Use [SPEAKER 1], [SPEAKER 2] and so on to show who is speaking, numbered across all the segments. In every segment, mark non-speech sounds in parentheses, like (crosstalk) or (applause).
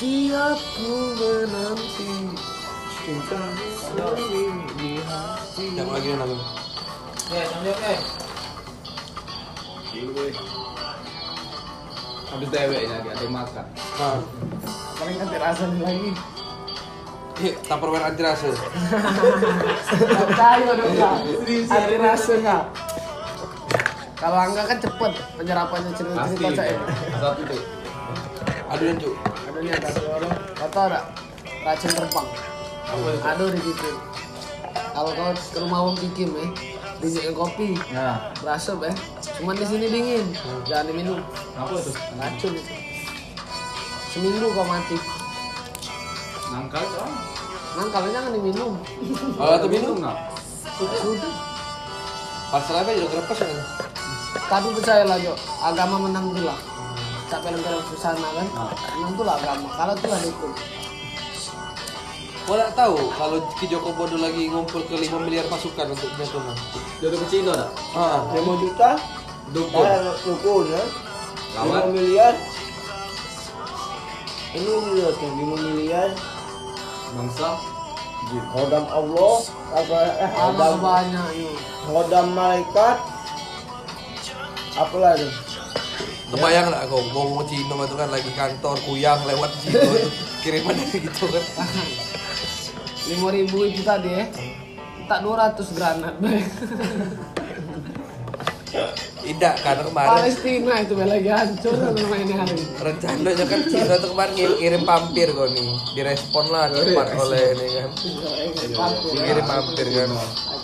[SPEAKER 1] Tiap ku menanti Cinta ini di hati
[SPEAKER 2] Yang lagi yang lagi.
[SPEAKER 3] Ya, sambil eh.
[SPEAKER 4] habis deweknya dia ada yang makan
[SPEAKER 2] Nah,
[SPEAKER 1] Paling nanti rasanya lagi
[SPEAKER 2] iya, tupperware anti rasa.
[SPEAKER 1] Percaya dong kak Ada rasa kak Kalau angga kan cepet penyerapannya
[SPEAKER 4] pasti iya.
[SPEAKER 1] cerita-cerita saya
[SPEAKER 4] satu tuh
[SPEAKER 2] Aduh cuk.
[SPEAKER 1] Ada nih ada orang Kau tau gak? Racun terbang Aduh di gitu Kalau kau ke rumah Wong Kikim ya Bijikin kopi
[SPEAKER 4] nah
[SPEAKER 1] Berasap ya Cuman di sini dingin Jangan diminum
[SPEAKER 4] apa tuh
[SPEAKER 1] Racun itu Seminggu kau mati
[SPEAKER 4] nangkal tuh
[SPEAKER 1] Nang kalau jangan diminum
[SPEAKER 2] Kalau tuh minum,
[SPEAKER 4] nggak
[SPEAKER 1] Sudah
[SPEAKER 2] pasal apa juga kelepas kan?
[SPEAKER 1] Tapi percayalah Jo, agama menang tuh lah. Tak film-film susana kan,
[SPEAKER 4] Ah.
[SPEAKER 1] menang tuh lah agama. Kalau tuh lah dukung.
[SPEAKER 2] Gua nggak tahu kalau Ki Joko Bodo lagi ngumpul ke 5 miliar pasukan untuk Natuna.
[SPEAKER 4] jodoh ke Cina dah
[SPEAKER 2] Ah,
[SPEAKER 5] 5 juta
[SPEAKER 4] dukun
[SPEAKER 5] Nah, dukun ya
[SPEAKER 4] Lawan.
[SPEAKER 5] 5 miliar Ini lihat yang 5 miliar
[SPEAKER 4] bangsa jin
[SPEAKER 5] Hodam Allah apa eh
[SPEAKER 1] Allah
[SPEAKER 5] Hodam
[SPEAKER 1] banyak yo.
[SPEAKER 5] Hodam malaikat Apalah itu
[SPEAKER 2] kebayang lah kau ngomong Cino itu kan lagi kantor kuyang lewat (laughs) Cino itu kiriman dari gitu kan.
[SPEAKER 1] Lima ribu itu tadi ya, tak 200 granat.
[SPEAKER 2] Tidak kan kemarin
[SPEAKER 1] Palestina itu lagi hancur kalau mainnya hari ini.
[SPEAKER 2] rencananya kan Cino itu kemarin ngirim, ngirim pampir kau nih direspon lah cepat oleh ini kan
[SPEAKER 1] Pampur, ya.
[SPEAKER 2] ngirim pampir kan
[SPEAKER 1] Ah,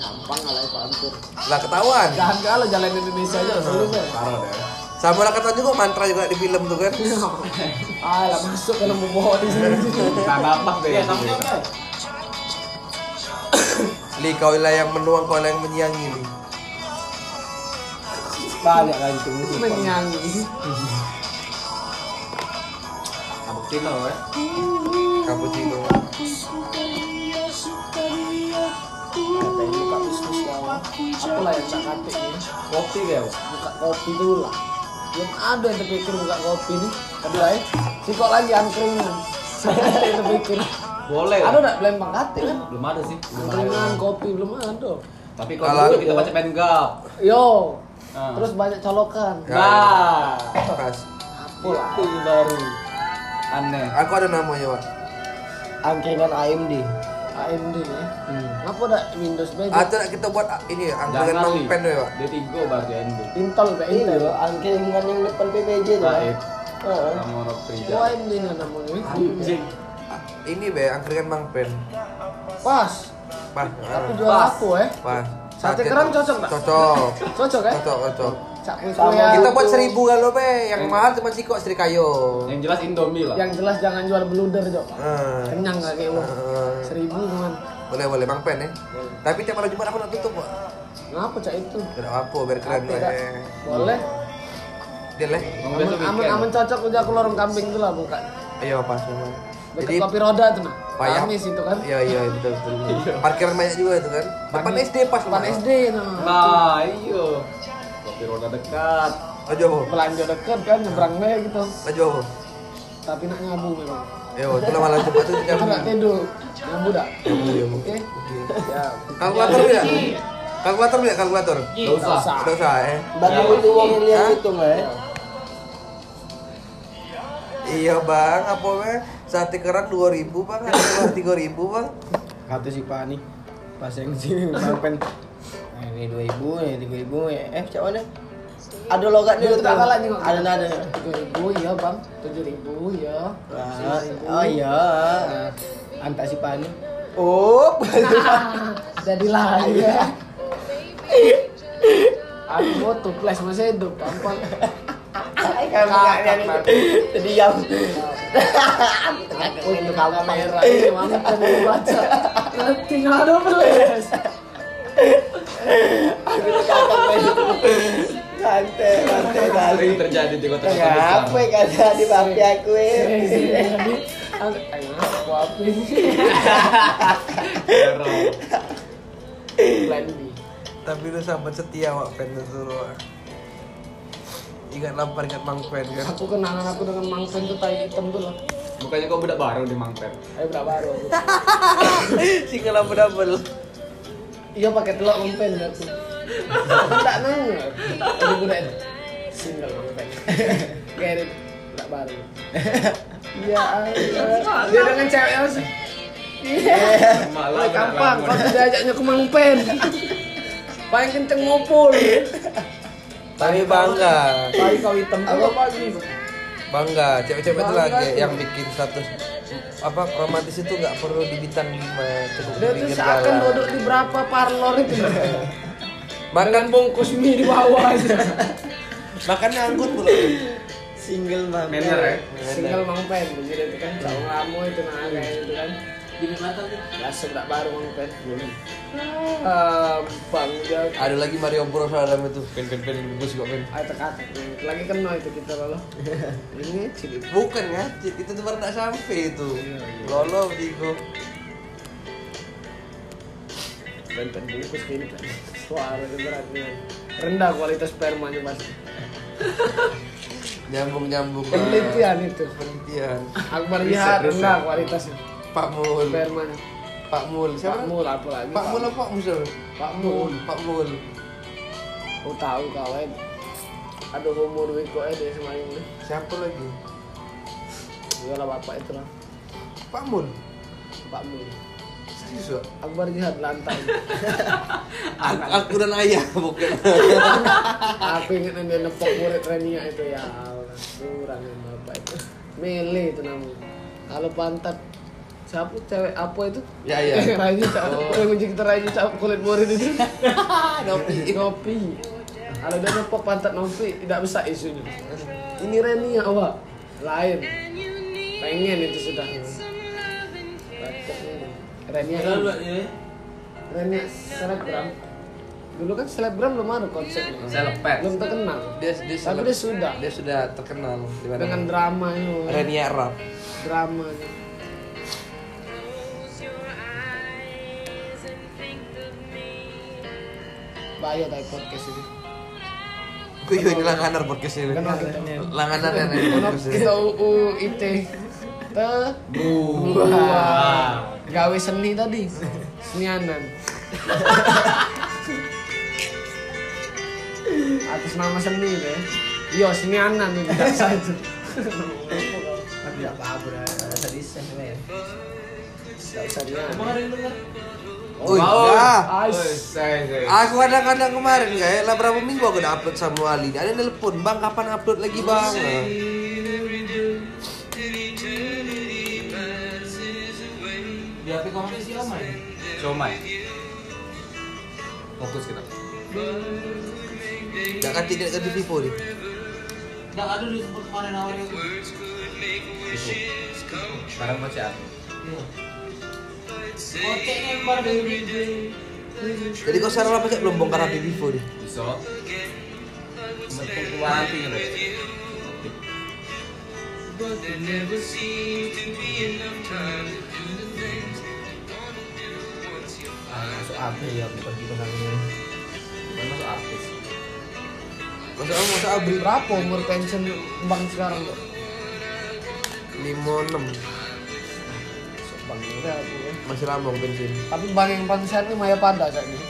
[SPEAKER 1] Gampang lah ya, pampur.
[SPEAKER 2] lah ketahuan
[SPEAKER 1] Jangan kalah jalan Indonesia aja dulu ya.
[SPEAKER 4] taruh deh
[SPEAKER 2] sama lah ketahuan juga mantra juga di film tuh kan
[SPEAKER 1] Ah, lah masuk kalau mau bawa di
[SPEAKER 4] (laughs)
[SPEAKER 1] sini.
[SPEAKER 4] tak apa deh
[SPEAKER 3] Ya, sambil eh.
[SPEAKER 2] li kaulah yang menuang kaulah yang menyiangi li
[SPEAKER 5] Banyak lagi tuh
[SPEAKER 1] Menyanyi.
[SPEAKER 4] Sambil Cina ya
[SPEAKER 2] cappuccino
[SPEAKER 5] Kata ini buka bisnis kawan
[SPEAKER 1] Apalah yang tak katik ini.
[SPEAKER 4] kopi kayak
[SPEAKER 1] buka kopi dulu lah belum ada yang terpikir buka kopi nih aduh ay si kok lagi angkringan ada yang terpikir
[SPEAKER 4] boleh
[SPEAKER 1] ada udah belembang kate kan
[SPEAKER 4] belum ada sih belum ada.
[SPEAKER 1] angkringan kopi belum ada
[SPEAKER 4] tapi
[SPEAKER 2] Kalau-
[SPEAKER 4] kalau dulu kita baca penggap
[SPEAKER 1] yo
[SPEAKER 4] Ah.
[SPEAKER 1] terus banyak colokan
[SPEAKER 4] nah
[SPEAKER 2] pas
[SPEAKER 1] apa lah
[SPEAKER 4] itu baru aneh
[SPEAKER 2] aku ada ya, namanya pak
[SPEAKER 5] Angkringan AMD
[SPEAKER 1] AMD ya
[SPEAKER 2] Hmm.
[SPEAKER 1] apa udah Windows Magic
[SPEAKER 2] atau kita buat ah, ini angkringan
[SPEAKER 4] jangan
[SPEAKER 2] nongpen deh ya, pak
[SPEAKER 4] dia tiga baru andu
[SPEAKER 1] Intel be
[SPEAKER 5] Ini
[SPEAKER 1] Intel
[SPEAKER 2] Iya.
[SPEAKER 5] loh angkringan yang depan PBJ tuh Eh,
[SPEAKER 4] naib
[SPEAKER 5] Heeh.
[SPEAKER 4] sama orang
[SPEAKER 1] Oh,
[SPEAKER 4] kerja
[SPEAKER 1] AMD nih namanya
[SPEAKER 4] anjing
[SPEAKER 2] Ah, ini be angkringan mangpen
[SPEAKER 1] pas
[SPEAKER 2] pas
[SPEAKER 1] tapi
[SPEAKER 2] ah,
[SPEAKER 1] jual apa eh
[SPEAKER 2] pas
[SPEAKER 1] Sate
[SPEAKER 2] Sakit,
[SPEAKER 1] kerang
[SPEAKER 2] Pak.
[SPEAKER 1] cocok nggak?
[SPEAKER 2] cocok
[SPEAKER 1] cocok eh
[SPEAKER 2] cocok cocok
[SPEAKER 1] cak kue
[SPEAKER 2] kita buat
[SPEAKER 1] kue
[SPEAKER 2] seribu kalau be yang mahal cuma sih kok sri kayu
[SPEAKER 4] yang jelas Indomie lah
[SPEAKER 1] yang jelas jangan jual bluder jok
[SPEAKER 2] Eh,
[SPEAKER 1] kenyang gak kayak lo
[SPEAKER 2] eh,
[SPEAKER 1] seribu cuman
[SPEAKER 2] boleh boleh mangpen ya tapi tiap malam jumat aku nak tutup pak
[SPEAKER 1] ngapa cak itu
[SPEAKER 2] tidak apa biar eh. keren
[SPEAKER 1] Apa,
[SPEAKER 2] be
[SPEAKER 1] Kak? boleh
[SPEAKER 2] deal eh
[SPEAKER 4] Yang
[SPEAKER 1] aman
[SPEAKER 4] besok
[SPEAKER 1] aman,
[SPEAKER 4] weekend.
[SPEAKER 1] aman cocok udah ke lorong kambing tuh lah buka
[SPEAKER 2] ayo pas memang
[SPEAKER 1] dekat kopi roda tuh nah
[SPEAKER 2] payah.
[SPEAKER 1] Kamis itu kan
[SPEAKER 2] Iya (laughs) iya betul betul. Parkiran banyak juga itu kan. Depan SD pas
[SPEAKER 1] depan
[SPEAKER 2] Pak.
[SPEAKER 1] SD nah
[SPEAKER 4] Nah, iyo. Kopi roda dekat.
[SPEAKER 2] Ayo Bo.
[SPEAKER 1] belanja deket kan nyebrang deh gitu
[SPEAKER 2] Ayo Bo.
[SPEAKER 1] tapi nak nyabu memang
[SPEAKER 2] Ayo Ya, itu lah malah cepat tuh
[SPEAKER 1] kita
[SPEAKER 2] jangan.
[SPEAKER 1] nggak tidur nyabu dah
[SPEAKER 2] Iya, Bo.
[SPEAKER 1] oke ya
[SPEAKER 5] eh.
[SPEAKER 2] Kalkulator tidak? Kalkulator tidak kalkulator?
[SPEAKER 4] Gak usah.
[SPEAKER 1] usah.
[SPEAKER 2] Tidak usah eh.
[SPEAKER 5] Bagi itu uang
[SPEAKER 2] Hah?
[SPEAKER 5] lihat itu nggak ya
[SPEAKER 2] Iya bang, apa bang? Sate kerang 2000 bang, ada kerang 3000 bang
[SPEAKER 5] Kata si Pak nih pas yang si (laughs) Marpen ini dua ribu ya tiga ribu ya eh cak mana ada logat
[SPEAKER 1] Dulu
[SPEAKER 5] dulu
[SPEAKER 1] tak kalah juga.
[SPEAKER 5] ada nada
[SPEAKER 1] tujuh ribu ya bang tujuh ribu ya
[SPEAKER 5] Wah, oh iya antak si Pak nih oh (laughs)
[SPEAKER 1] jadilah ya aku foto flash masih hidup gampang
[SPEAKER 5] kamu diam
[SPEAKER 1] aku itu kalau merah ini mampir lu (laughs) baca tinggal dua belas
[SPEAKER 5] santai santai
[SPEAKER 4] Sering
[SPEAKER 5] kali
[SPEAKER 4] terjadi di kota-kota besar.
[SPEAKER 5] Kenapa ya kata di papi aku ya?
[SPEAKER 1] eh, aku apa ini
[SPEAKER 4] Teror.
[SPEAKER 1] plan B
[SPEAKER 2] Tapi lu sahabat setia wak, fan itu lu ingat lapar ingat mangpen kan (laughs)
[SPEAKER 1] Aku kenangan aku dengan mangsen tuh tai hitam tuh loh.
[SPEAKER 4] Bukannya kau budak baru di Mangper.
[SPEAKER 1] Ayo berapa baru aku.
[SPEAKER 2] single lama double
[SPEAKER 1] Iya pakai telur mangsen (laughs) aku. Tak nang. Aku udah single (laughs) mangsen. Gerit enggak baru. (laughs) Ya Allah. Dia dengan cewek apa sih? Iya.
[SPEAKER 4] Malah
[SPEAKER 1] Woi gampang, kau tidak ajaknya ke mangpen. (laughs) Paling kenceng ngumpul.
[SPEAKER 2] tapi bangga
[SPEAKER 5] Tapi kau hitam
[SPEAKER 1] Aku
[SPEAKER 5] juga
[SPEAKER 1] pagi.
[SPEAKER 2] bangga cewek-cewek itu
[SPEAKER 1] Bangga
[SPEAKER 2] lagi
[SPEAKER 1] itu.
[SPEAKER 2] yang bikin status apa romantis itu nggak perlu di bintang lima cukup di
[SPEAKER 1] Dia tuh
[SPEAKER 2] pinggir
[SPEAKER 1] seakan
[SPEAKER 2] jalan
[SPEAKER 1] duduk di berapa parlor
[SPEAKER 2] (laughs)
[SPEAKER 1] itu.
[SPEAKER 2] makan
[SPEAKER 1] Bungkus mie di bawah aja.
[SPEAKER 2] makan angkut pula
[SPEAKER 5] single banget.
[SPEAKER 4] Manner ya.
[SPEAKER 1] Single mangpen, jadi itu kan kalau kamu itu nah kayak gitu kan.
[SPEAKER 3] Gini mata tuh.
[SPEAKER 1] Langsung tak baru mangpen. Eh, bang dia
[SPEAKER 2] ada lagi Mario Bros dalam itu pen pen pen bungkus kok pen
[SPEAKER 1] ada kakak lagi kena itu kita
[SPEAKER 2] (laughs)
[SPEAKER 1] lalu. Ini cilik.
[SPEAKER 2] bukan ngacit itu tuh baru nggak sampai itu
[SPEAKER 1] Iya,
[SPEAKER 2] lolo digo
[SPEAKER 1] Benten bungkus ini kan. Suara itu berat nih. Rendah kualitas spermanya pasti.
[SPEAKER 2] nyambung nyambung
[SPEAKER 1] Penelitian itu.
[SPEAKER 2] penelitian
[SPEAKER 1] Akbar lihat rendah kualitasnya
[SPEAKER 2] Pak Mul
[SPEAKER 1] spermanya.
[SPEAKER 2] Pak Mul siapa
[SPEAKER 1] Pak Mul apa lagi?
[SPEAKER 2] Pak Mul apa Pak Musul
[SPEAKER 1] Pak Mul.
[SPEAKER 2] Pak Mul
[SPEAKER 1] Aku tahu eh. kawan. Ada homo duit kok eh, ada sama ini.
[SPEAKER 2] siapa lagi
[SPEAKER 1] Iyalah bapak itu lah.
[SPEAKER 2] Pak Mul
[SPEAKER 1] Pak Mul.
[SPEAKER 2] serius Wak?
[SPEAKER 1] Akbar jihad lantai.
[SPEAKER 2] aku, aku dan ayah bukan
[SPEAKER 1] Aku ingat yang nepok murid Renia itu ya Allah. Kurang yang apa itu. Mele itu namanya. Kalau pantat siapa cewek apa itu?
[SPEAKER 2] Ya, ya.
[SPEAKER 1] (laughs) Raja siapa? Yang uji kita Raja siapa kulit murid itu?
[SPEAKER 2] Nopi.
[SPEAKER 1] Nopi. Kalau dia nepok pantat Nopi tidak besar isunya. Ini Renia Wak. Lain. Pengen itu sudah. Bacoknya nih. Renia.
[SPEAKER 3] Kalau lu ini.
[SPEAKER 1] Renia selebgram. Dulu kan selebgram belum ada konsepnya.
[SPEAKER 2] Selepet.
[SPEAKER 1] Belum terkenal.
[SPEAKER 2] dia dia
[SPEAKER 1] Tapi dia sudah.
[SPEAKER 2] dia sudah terkenal di mana
[SPEAKER 1] dengan drama itu
[SPEAKER 2] Renia Rap
[SPEAKER 1] drama itu. bahaya dari podcast ini
[SPEAKER 2] Kuy ini langanar podcast ini.
[SPEAKER 1] Kenapa?
[SPEAKER 2] Langanar kan
[SPEAKER 5] Iya,
[SPEAKER 2] ini podcast ini.
[SPEAKER 1] kita uu it te Wah. gawe seni tadi senianan atas nama seni deh yo senianan ini dasar itu
[SPEAKER 5] Tapi nggak apa-apa, udah nggak usah desain lah ya.
[SPEAKER 1] Nggak usah dia
[SPEAKER 3] Kemarin dengar.
[SPEAKER 2] Uy, dah.
[SPEAKER 1] ya.
[SPEAKER 2] Oh,
[SPEAKER 1] Ais.
[SPEAKER 2] iya.
[SPEAKER 1] Ah.
[SPEAKER 2] Aku kadang-kadang kemarin guys, lah berapa minggu aku udah upload sama Ali. Ada yang nelpon, "Bang, kapan upload lagi, Bang?"
[SPEAKER 3] Di HP kemarin si Oma ya.
[SPEAKER 4] Comai. Fokus kita.
[SPEAKER 2] Jangan tidak ganti Vivo nih.
[SPEAKER 3] Nggak ada di tempat kemarin awalnya.
[SPEAKER 4] Sekarang mau chat.
[SPEAKER 3] Iya. Kocek nembak dari
[SPEAKER 2] Jadi kau sekarang apa cek belum bongkar HP Vivo nih?
[SPEAKER 4] Bisa. Menunggu waranti gitu.
[SPEAKER 5] Ah, Masuk apa ya, aku pergi ke sana ini.
[SPEAKER 4] Bukan masuk artis.
[SPEAKER 2] Masa kamu masa abri
[SPEAKER 1] berapa umur pensiun bang sekarang tuh
[SPEAKER 2] 56.
[SPEAKER 1] Bang udah aku ya.
[SPEAKER 2] Masih lama aku bensin.
[SPEAKER 1] Tapi bang yang paling sehat ini Maya Panda kayak gini.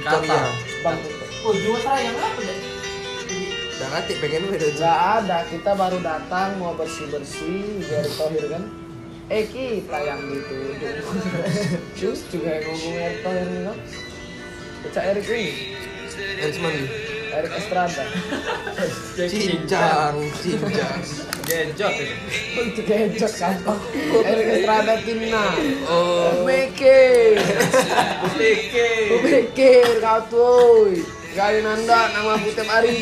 [SPEAKER 2] Victoria.
[SPEAKER 1] Bang Tutup.
[SPEAKER 3] Oh, jiwa seraya apa deh?
[SPEAKER 2] Dah nanti pengen gue udah
[SPEAKER 1] Gak ada, kita baru datang mau bersih-bersih dari Tohir kan. Eh kita yang gitu, (laughs) dituduh. Cus juga yang ngomong Erick Thohir ini kan. Pecah Erick ini,
[SPEAKER 2] Eris mandi.
[SPEAKER 1] Erick (laughs) Estrada.
[SPEAKER 2] Cincang, cincang.
[SPEAKER 4] ya? Genjot ya? itu.
[SPEAKER 1] Itu kecok gampang. Erick Estrada Timna.
[SPEAKER 2] Oh,
[SPEAKER 1] Mikir,
[SPEAKER 4] Putih.
[SPEAKER 1] mikir kau tuh. Kali nanda nama Putep Ari.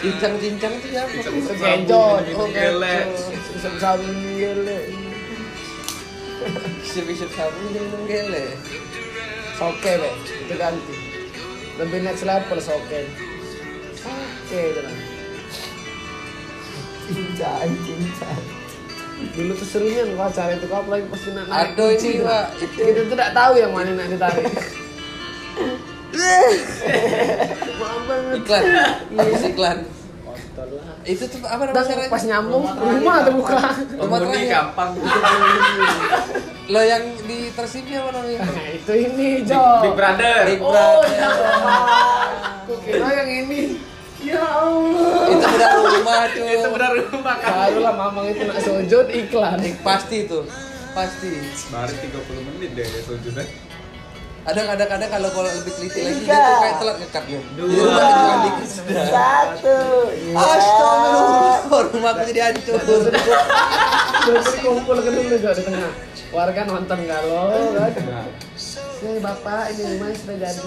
[SPEAKER 2] cincang-cincang itu ya, siapa?
[SPEAKER 1] Kejot, oh
[SPEAKER 4] Gele.
[SPEAKER 1] kejot. Sabun gele.
[SPEAKER 2] Bisa-bisa kamu minum gele.
[SPEAKER 1] Soke be, itu ganti. Lebih next level soke. Soke itu lah.
[SPEAKER 5] Cincaan, cincaan.
[SPEAKER 1] Dulu tuh serunya nih acara itu kau apalagi pasti nak naik.
[SPEAKER 2] Aduh, ini,
[SPEAKER 1] kucing,
[SPEAKER 2] Pak.
[SPEAKER 1] Pak. Kita tuh tidak tahu yang mana nak ditarik. Maaf banget.
[SPEAKER 2] Iklan. Habis iklan.
[SPEAKER 1] lah
[SPEAKER 2] Itu tuh apa
[SPEAKER 1] dan
[SPEAKER 2] namanya caranya?
[SPEAKER 1] pas nyambung
[SPEAKER 3] Rumah
[SPEAKER 1] rumah terbuka
[SPEAKER 4] Penghuni
[SPEAKER 2] terakhir.
[SPEAKER 4] gampang.
[SPEAKER 2] Lo yang di Persibnya apa namanya?
[SPEAKER 1] nah, itu ini Jo
[SPEAKER 4] Big Brother.
[SPEAKER 2] Big
[SPEAKER 1] oh
[SPEAKER 2] Brother.
[SPEAKER 1] ya Gua kira yang ini ya Allah
[SPEAKER 2] Itu benar rumah tuh.
[SPEAKER 4] Itu benar rumah kan.
[SPEAKER 1] barulah mamang itu nak sujud iklan
[SPEAKER 2] Eh, Pasti itu. Pasti.
[SPEAKER 4] Baru 30 menit deh selanjutnya.
[SPEAKER 2] Kadang kadang kadang kalau kalau lebih teliti lagi dia tuh kayak telat ngekatnya. Di
[SPEAKER 4] Dua.
[SPEAKER 2] rumah itu kan dikit sudah.
[SPEAKER 5] Satu. Ya.
[SPEAKER 2] Astagfirullah, rumahku jadi
[SPEAKER 1] Iya,
[SPEAKER 2] hancur.
[SPEAKER 1] Terus kumpul ke dulu Jo di tengah warga nonton galau kan
[SPEAKER 4] Nah,
[SPEAKER 1] Ini bapak, ini rumah sudah jadi.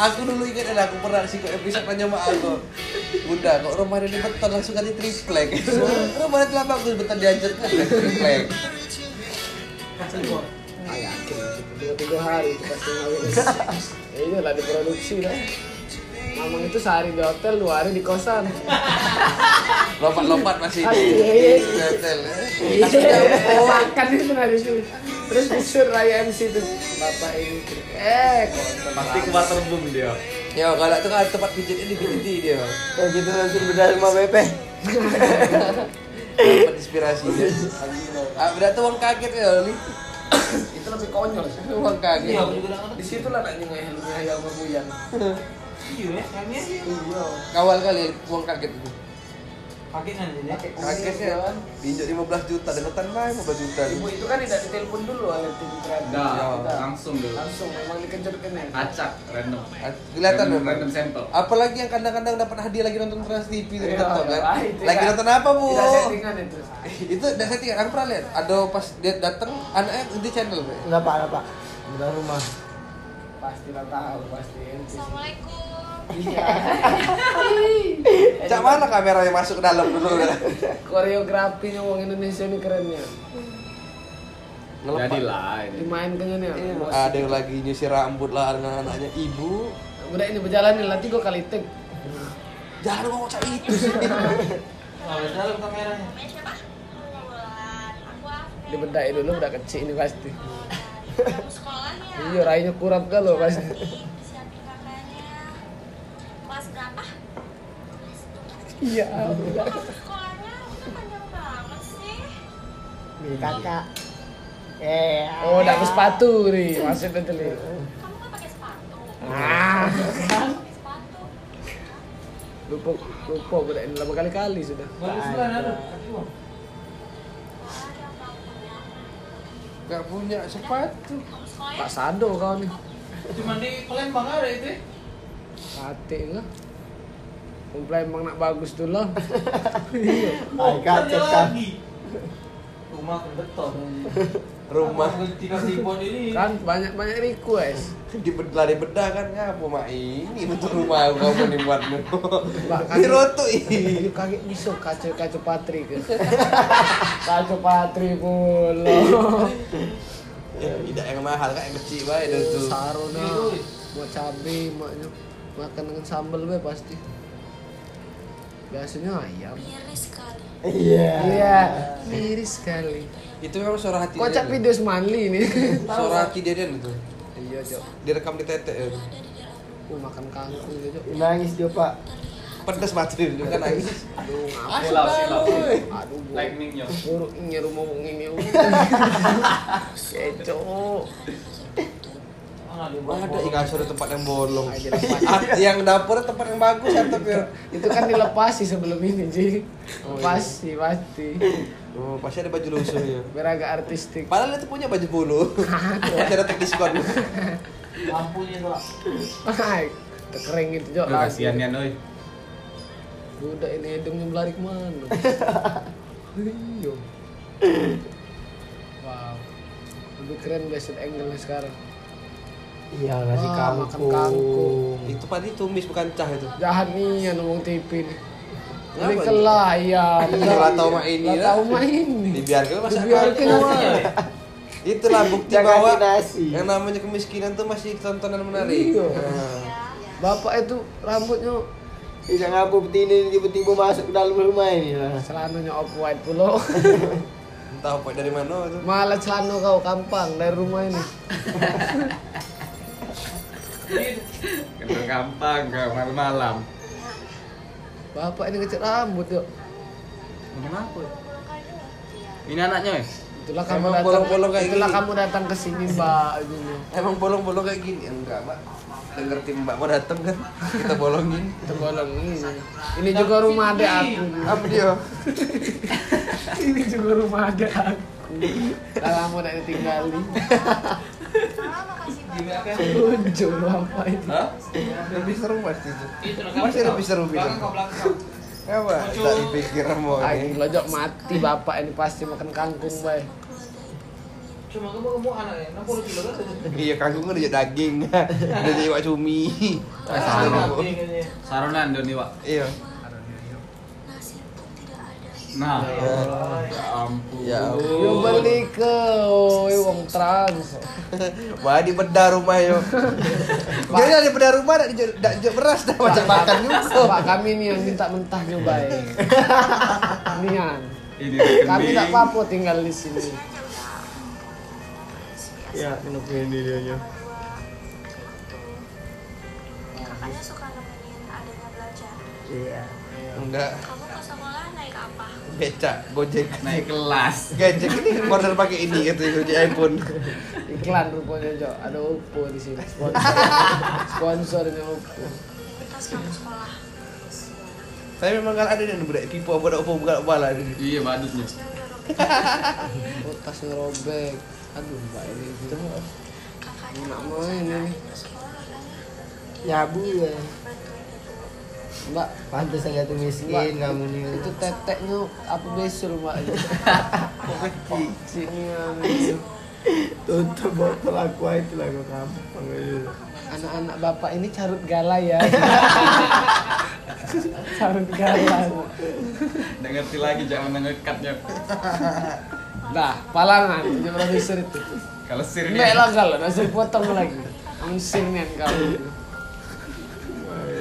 [SPEAKER 2] Aku dulu ingat ada aku pernah sih kok episode tanya sama aku. Bunda, kok rumahnya di beton langsung ganti triplek. rumahnya telah bagus beton dihancurkan ganti triplek.
[SPEAKER 1] Ah, yakin tiga tiga hari itu pasti ngawin. Ya iyalah diproduksi lah. Mamang itu sehari di hotel, dua hari di kosan.
[SPEAKER 2] Lompat-lompat masih di
[SPEAKER 1] Asik.
[SPEAKER 2] di hotel.
[SPEAKER 1] Iya,
[SPEAKER 2] Asik jauh.
[SPEAKER 1] makan itu nari dulu. Terus disuruh raya MC itu bapak ini. Eh, kosan.
[SPEAKER 4] Pasti kuarter boom dia.
[SPEAKER 2] Ya, kalau itu kan tempat pijitnya dipijiti dia.
[SPEAKER 5] Kayak gitu langsung bedah sama Pepe.
[SPEAKER 2] Dapat inspirasi dia. Ah, berarti uang kaget ya, Oli.
[SPEAKER 1] itu lebih konyol. sih.
[SPEAKER 2] Uang kaget.
[SPEAKER 3] Iya, aku juga nggak ngerti.
[SPEAKER 1] Di situ lah nak nyengayang nyengayang ngebuyang.
[SPEAKER 3] Iya, ya, kayaknya
[SPEAKER 1] Iya.
[SPEAKER 2] Kawal kali uang kaget itu.
[SPEAKER 3] pakai nanti ya.
[SPEAKER 2] Kaget ya. Diinjak 15 juta, deketan lah 15 juta.
[SPEAKER 1] Ibu kan? itu kan tidak ditelepon dulu oleh tim kreatif.
[SPEAKER 4] Enggak,
[SPEAKER 1] Tidak.
[SPEAKER 4] langsung dulu.
[SPEAKER 1] Langsung memang dikejar-kejar.
[SPEAKER 4] Acak random.
[SPEAKER 2] Ah, Kelihatan
[SPEAKER 4] Random-
[SPEAKER 2] memang.
[SPEAKER 4] random sample.
[SPEAKER 2] Apalagi yang kadang-kadang dapat hadiah lagi nonton Trans TV itu
[SPEAKER 1] Iya,
[SPEAKER 2] tetap
[SPEAKER 1] iya,
[SPEAKER 2] kan.
[SPEAKER 1] ah, itu
[SPEAKER 2] Lagi
[SPEAKER 1] kan.
[SPEAKER 2] nonton apa, Bu?
[SPEAKER 1] Tidak settingan itu.
[SPEAKER 2] Itu udah settingan, aku pernah lihat. Ada pas dia datang anaknya di channel, Bu.
[SPEAKER 5] Enggak pak, enggak pak. Bedah rumah.
[SPEAKER 1] Pasti lah tahu, pasti.
[SPEAKER 6] Assalamualaikum.
[SPEAKER 1] Iya.
[SPEAKER 2] (laughs) Cak mana kameranya masuk ke dalam dulu kan?
[SPEAKER 1] Koreografinya orang Indonesia ini ya. kerennya.
[SPEAKER 4] Jadilah ini.
[SPEAKER 1] Dimainkannya ya. nih. emosi.
[SPEAKER 2] Ada yang lagi nyusir rambut lah dengan anaknya ibu.
[SPEAKER 1] Udah ini berjalan nih, nanti gua kali tek.
[SPEAKER 2] Jangan ngomong cak itu sih.
[SPEAKER 3] Kalau dalam kameranya.
[SPEAKER 6] Namanya siapa? Wulan. Aku Afif.
[SPEAKER 1] Dibedain dulu udah kecil ini pasti.
[SPEAKER 6] Kamu sekolah ya?
[SPEAKER 1] (laughs) Iya, rainya kurang kalau pasti.
[SPEAKER 6] Siapin kakaknya. Kelas berapa?
[SPEAKER 1] Iya.
[SPEAKER 6] Kamu sekolahnya udah panjang banget sih.
[SPEAKER 5] Beli kakak. Eh.
[SPEAKER 1] Oh, udah aku sepatu nih, masuk betul nih.
[SPEAKER 6] Kamu nggak pakai sepatu.
[SPEAKER 1] Ah,
[SPEAKER 6] Pakai sepatu.
[SPEAKER 1] lupa lupa udah ini lama kali-kali sudah.
[SPEAKER 3] Bagus lah, aduh. Kaki gua.
[SPEAKER 6] Wah, ya yang tahu punya.
[SPEAKER 2] Gak punya sepatu.
[SPEAKER 6] Kamu sekolah ya?
[SPEAKER 1] Pak Sado kau nih.
[SPEAKER 3] Cuman di Palembang ada itu. ya.
[SPEAKER 1] Patik lah. Kumpulan emang nak bagus tuh lah.
[SPEAKER 5] Aikal,
[SPEAKER 3] Bukan dia
[SPEAKER 5] cek, Kak.
[SPEAKER 3] lagi. Rumah aku beton.
[SPEAKER 2] Rumah
[SPEAKER 3] Aku tinggal di Bon ini.
[SPEAKER 1] Kan banyak-banyak request.
[SPEAKER 2] di bedah di bedah kan ngapa mak ini bentuk rumah aku kamu nih buat nih.
[SPEAKER 1] Bahkan-
[SPEAKER 2] Birotu
[SPEAKER 1] Itu kaget bisa kacau kacau patri kan. (laughs) kacau patri pula.
[SPEAKER 2] Ya, tidak yang mahal kan yang kecil bae dah tu.
[SPEAKER 1] Iya. Sarona mau cabai maknya makan dengan sambal be pasti. Biasanya ayam.
[SPEAKER 6] Miris sekali.
[SPEAKER 5] Iya.
[SPEAKER 1] Iya, miris sekali.
[SPEAKER 2] Itu memang suara hati. Deden.
[SPEAKER 1] Kocak video semanli nih.
[SPEAKER 2] Suara hati Deden itu.
[SPEAKER 1] Iya, Jok.
[SPEAKER 2] Direkam di tete. ya.
[SPEAKER 1] Aku makan kangkung ya, Jok.
[SPEAKER 5] Nangis dia pak.
[SPEAKER 2] Pedes mati itu kan nangis.
[SPEAKER 1] Aduh, ngapa?
[SPEAKER 4] Silau, silau.
[SPEAKER 1] Aduh, gua-
[SPEAKER 4] Lightningnya.
[SPEAKER 1] Buruk ini rumah wong ini. (laughs) Keco.
[SPEAKER 3] Mana dia buat
[SPEAKER 2] Ada
[SPEAKER 3] bohong?
[SPEAKER 2] yang kasur tempat yang bolong.
[SPEAKER 1] Aja lepas.
[SPEAKER 2] Ah, yang dapur tempat yang bagus ya tapi
[SPEAKER 1] Itu kan dilepasi sebelum ini, Ji. Oh, iya. Lepasi pasti.
[SPEAKER 2] oh, pasti ada baju lusuh ya.
[SPEAKER 1] Biar agak artistik.
[SPEAKER 2] Padahal itu punya baju bulu. Masih (laughs) ada teknis diskon.
[SPEAKER 3] Lampunya tuh. Kak.
[SPEAKER 1] Hai. Tekering itu, Jok.
[SPEAKER 4] Aduh, kasihan ya, Noy.
[SPEAKER 1] Budak ini hidungnya belari kemana? (laughs) Iya. Wow. Lebih keren basic angle-nya sekarang.
[SPEAKER 5] Iya ngasih
[SPEAKER 1] Ah, makan kangkung.
[SPEAKER 5] kangkung.
[SPEAKER 2] itu padi tumis bukan cah itu.
[SPEAKER 1] Jahat nih yang ngomong TV nih. Ini
[SPEAKER 2] Kenapa?
[SPEAKER 1] kelah ya.
[SPEAKER 2] Lah tahu mak ini.
[SPEAKER 1] Lah tahu mah ini.
[SPEAKER 2] Dibiarkan masa
[SPEAKER 1] Dibiarkan
[SPEAKER 3] Iya,
[SPEAKER 1] lah.
[SPEAKER 3] ya.
[SPEAKER 5] (laughs)
[SPEAKER 2] Itulah bukti
[SPEAKER 5] Jangan
[SPEAKER 2] bahwa
[SPEAKER 5] dinasi.
[SPEAKER 2] yang namanya kemiskinan tuh masih tontonan menarik.
[SPEAKER 1] Iya.
[SPEAKER 2] Nah,
[SPEAKER 1] Bapak itu rambutnya
[SPEAKER 5] Bisa ngapu Iya, ini tiba-tiba masuk ke dalam rumah ini lah.
[SPEAKER 1] celananya off white pula.
[SPEAKER 2] entah apa dari mana itu.
[SPEAKER 1] Malah celana kau kampang dari rumah ini.
[SPEAKER 4] Kena gampang, gak malam-malam.
[SPEAKER 1] Bapak ini ngecat rambut yuk.
[SPEAKER 4] Kenapa? Ini anaknya, weh.
[SPEAKER 1] Itulah kamu
[SPEAKER 2] Emang
[SPEAKER 1] datang.
[SPEAKER 2] bolong-bolong kayak
[SPEAKER 1] itulah
[SPEAKER 2] gini.
[SPEAKER 1] kamu datang ke sini, Mbak. Gini.
[SPEAKER 2] Emang bolong-bolong kayak gini? Enggak, Mbak. Udah ngerti Mbak mau datang kan? Kita bolongin.
[SPEAKER 1] Itu bolong ini. Ini juga rumah adik aku.
[SPEAKER 2] Apa dia?
[SPEAKER 1] ini juga rumah adik aku. Kalau mau nak ditinggali.
[SPEAKER 6] Mama kasih
[SPEAKER 3] Gimana kan?
[SPEAKER 1] Ujung bapak itu.
[SPEAKER 2] Hah? Lebih seru pasti itu.
[SPEAKER 3] Itu
[SPEAKER 2] Masih lebih seru film.
[SPEAKER 3] Iya, Belakang kau belakang.
[SPEAKER 2] Apa? Tak dipikir mau
[SPEAKER 1] Aing
[SPEAKER 2] ini.
[SPEAKER 1] lojok mati bapak ini pasti makan kangkung, Bay.
[SPEAKER 3] Cuma kamu kamu anaknya 60 kilo kan?
[SPEAKER 2] Iya, kangkung kan dia daging. (laughs) Dia jadi wak cumi.
[SPEAKER 3] Iya,
[SPEAKER 4] sama.
[SPEAKER 2] Seru, Bu.
[SPEAKER 3] Kayaknya.
[SPEAKER 4] Saronan Doni, Pak.
[SPEAKER 2] Iya.
[SPEAKER 4] Nah,
[SPEAKER 3] Ya.
[SPEAKER 4] ya ampun.
[SPEAKER 2] Ya ampun.
[SPEAKER 1] Yo beli ke, oi wong trans.
[SPEAKER 2] Wah, di bedah rumah (laughs) yo. Dia di bedah rumah dak dijual dak jual beras dah macam makan juga.
[SPEAKER 1] Pak kami nih yang minta mentahnya baik.
[SPEAKER 5] (laughs)
[SPEAKER 1] Nian.
[SPEAKER 4] Ini
[SPEAKER 1] Kami
[SPEAKER 4] rekening.
[SPEAKER 1] tak apa-apa tinggal di sini.
[SPEAKER 5] Ya, kenapa ini dia ya?
[SPEAKER 6] Kakaknya suka nemenin adanya belajar.
[SPEAKER 5] Iya.
[SPEAKER 2] Enggak,
[SPEAKER 6] Kamu ke sekolah naik apa?
[SPEAKER 2] becak, Gojek.
[SPEAKER 4] Naik kelas.
[SPEAKER 2] Gojek ini order pakai ini gitu, Gojek iPhone.
[SPEAKER 1] Iklan rupanya Jok. Ada Oppo di sini.
[SPEAKER 5] (laughs)
[SPEAKER 1] Sponsor. Sponsornya Oppo.
[SPEAKER 6] Pas kamu sekolah.
[SPEAKER 2] Tapi memang kalau ada yang budak tipu apa apa bukan bala ini.
[SPEAKER 4] Iya, badutnya.
[SPEAKER 1] Oh, tas ngerobek. Aduh, Mbak ini gitu.
[SPEAKER 6] Kakaknya
[SPEAKER 1] Enak main ini.
[SPEAKER 6] ke sekolah katanya
[SPEAKER 5] Nyabu ya.
[SPEAKER 6] bantuin ibu.
[SPEAKER 1] Mbak,
[SPEAKER 5] Pantes aja tuh
[SPEAKER 1] Mbak,
[SPEAKER 5] miskin kamu nih.
[SPEAKER 1] itu teteknya apa besok
[SPEAKER 5] (laughs)
[SPEAKER 1] Mbak? Sini
[SPEAKER 5] (laughs) tutup botol aku itu lagu kampung aja.
[SPEAKER 1] anak-anak bapak ini carut gala ya. carut gala.
[SPEAKER 4] Nggak ngerti lagi jangan ngekatnya.
[SPEAKER 1] Nah, palangan punya produser itu.
[SPEAKER 4] Kalau sirnya.
[SPEAKER 1] Mbak lah kalau langsung potong lagi. Mesin kan kamu.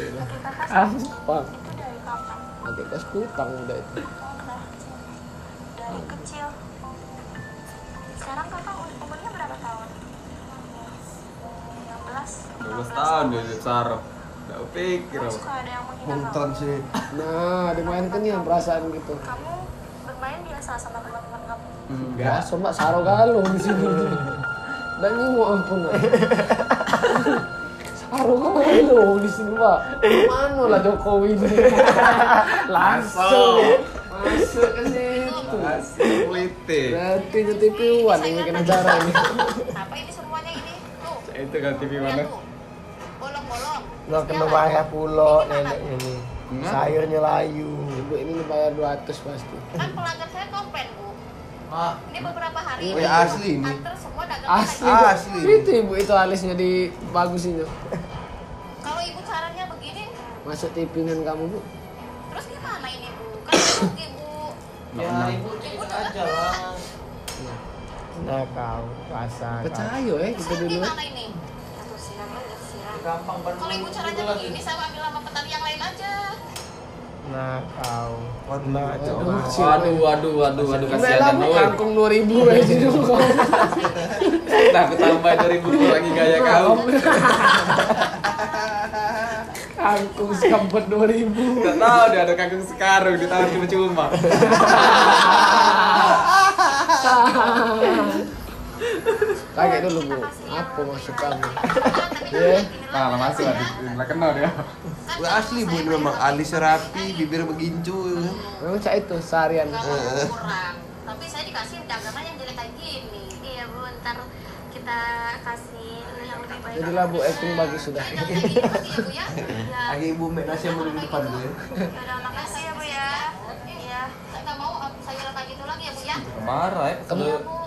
[SPEAKER 1] Apa?
[SPEAKER 6] Dari kapan?
[SPEAKER 1] Nanti kos kutang udah itu.
[SPEAKER 6] Udah. Dari kecil. Sekarang kakak um- umurnya berapa tahun? 13.
[SPEAKER 4] 12 tahun dia jadi sarap. Nggak pikir apa.
[SPEAKER 6] Suka ada yang menghina kamu.
[SPEAKER 2] Kontran sih.
[SPEAKER 1] Nah, dimainkan ya perasaan gitu.
[SPEAKER 6] Kamu bermain biasa sama teman-teman kamu.
[SPEAKER 1] Enggak, mbak saro galung di sini. Dan ini mau ampun. Nak. Saro galung di sini, Pak. Mana lah Jokowi ini? Langsung masuk ke situ.
[SPEAKER 4] Asik politik.
[SPEAKER 1] Berarti nyetir piwan yang bikin acara ini.
[SPEAKER 6] (laughs) Apa ini semuanya ini? Tuh.
[SPEAKER 4] Itu kan TV mana?
[SPEAKER 6] tuh. Bolong-bolong.
[SPEAKER 5] Nggak kena bahaya
[SPEAKER 6] Iya,
[SPEAKER 5] pulo nenek ini.
[SPEAKER 4] Hmm?
[SPEAKER 5] Sayurnya layu.
[SPEAKER 1] Ibu ini dibayar 200 pasti.
[SPEAKER 6] Kan pelanggan saya komplain, Bu.
[SPEAKER 3] Mak,
[SPEAKER 6] Ini beberapa hari.
[SPEAKER 2] Ah. Wih, asli ini.
[SPEAKER 6] Antar semua dagangan
[SPEAKER 1] Asli.
[SPEAKER 6] lagi.
[SPEAKER 1] Bu.
[SPEAKER 2] Asli.
[SPEAKER 1] Itu ibu itu alisnya di bagus ini.
[SPEAKER 6] Kalau ibu caranya begini,
[SPEAKER 1] Masuk tipingan kamu, Bu.
[SPEAKER 6] terus gimana ini, Bu? Kan rugi, Bu.
[SPEAKER 3] ya ibu ikut aja lah.
[SPEAKER 5] Nah kau rasa. kau.
[SPEAKER 1] Percaya eh kita
[SPEAKER 6] Terus
[SPEAKER 1] dulu.
[SPEAKER 6] gimana ini? Satu siram aja, siram.
[SPEAKER 3] Gampang banget. Gitu
[SPEAKER 6] Kalau ibu caranya begini, saya ambil sama petani yang lain aja.
[SPEAKER 5] Nah kau. Nah
[SPEAKER 1] Waduh,
[SPEAKER 5] coba.
[SPEAKER 4] Waduh, waduh, waduh, waduh,
[SPEAKER 1] Mbak
[SPEAKER 4] kasihan
[SPEAKER 1] lah,
[SPEAKER 4] dan
[SPEAKER 1] Bu,
[SPEAKER 4] Noel.
[SPEAKER 1] kangkung eh, 2000 aja dulu.
[SPEAKER 4] Nah, aku tambah 2000 kurangi gaya kau.
[SPEAKER 1] Kangkung sekempet 2000
[SPEAKER 4] Gak tahu dia ada kangkung sekarung di tangan cuma-cuma.
[SPEAKER 1] Kaget
[SPEAKER 2] Iya,
[SPEAKER 1] dulu bu, apa maksud kamu?
[SPEAKER 2] (laughs)
[SPEAKER 6] Iya.
[SPEAKER 4] Nah, masuk lah, lah kenal dia.
[SPEAKER 2] Udah asli bu ini memang alis rapi, bibir begincu.
[SPEAKER 1] Memang cak itu seharian
[SPEAKER 6] Nggak mau kurang. Tapi saya dikasih dagangan yang jelek kayak gini. Iya bu, ntar kita kasih yang lebih baik.
[SPEAKER 1] Jadilah bu, acting bagus sudah
[SPEAKER 6] Jangan kayak
[SPEAKER 2] (laughs)
[SPEAKER 6] gini lagi ya bu ya. Ya.
[SPEAKER 2] Lagi ibu Mek Nasya mau di depan bu ya.
[SPEAKER 6] Yaudah, makasih ya bu ya. Iya. Saya nggak mau eh, sayuran kayak gitu lagi ya bu ya.
[SPEAKER 4] Marah ya.
[SPEAKER 1] Temu,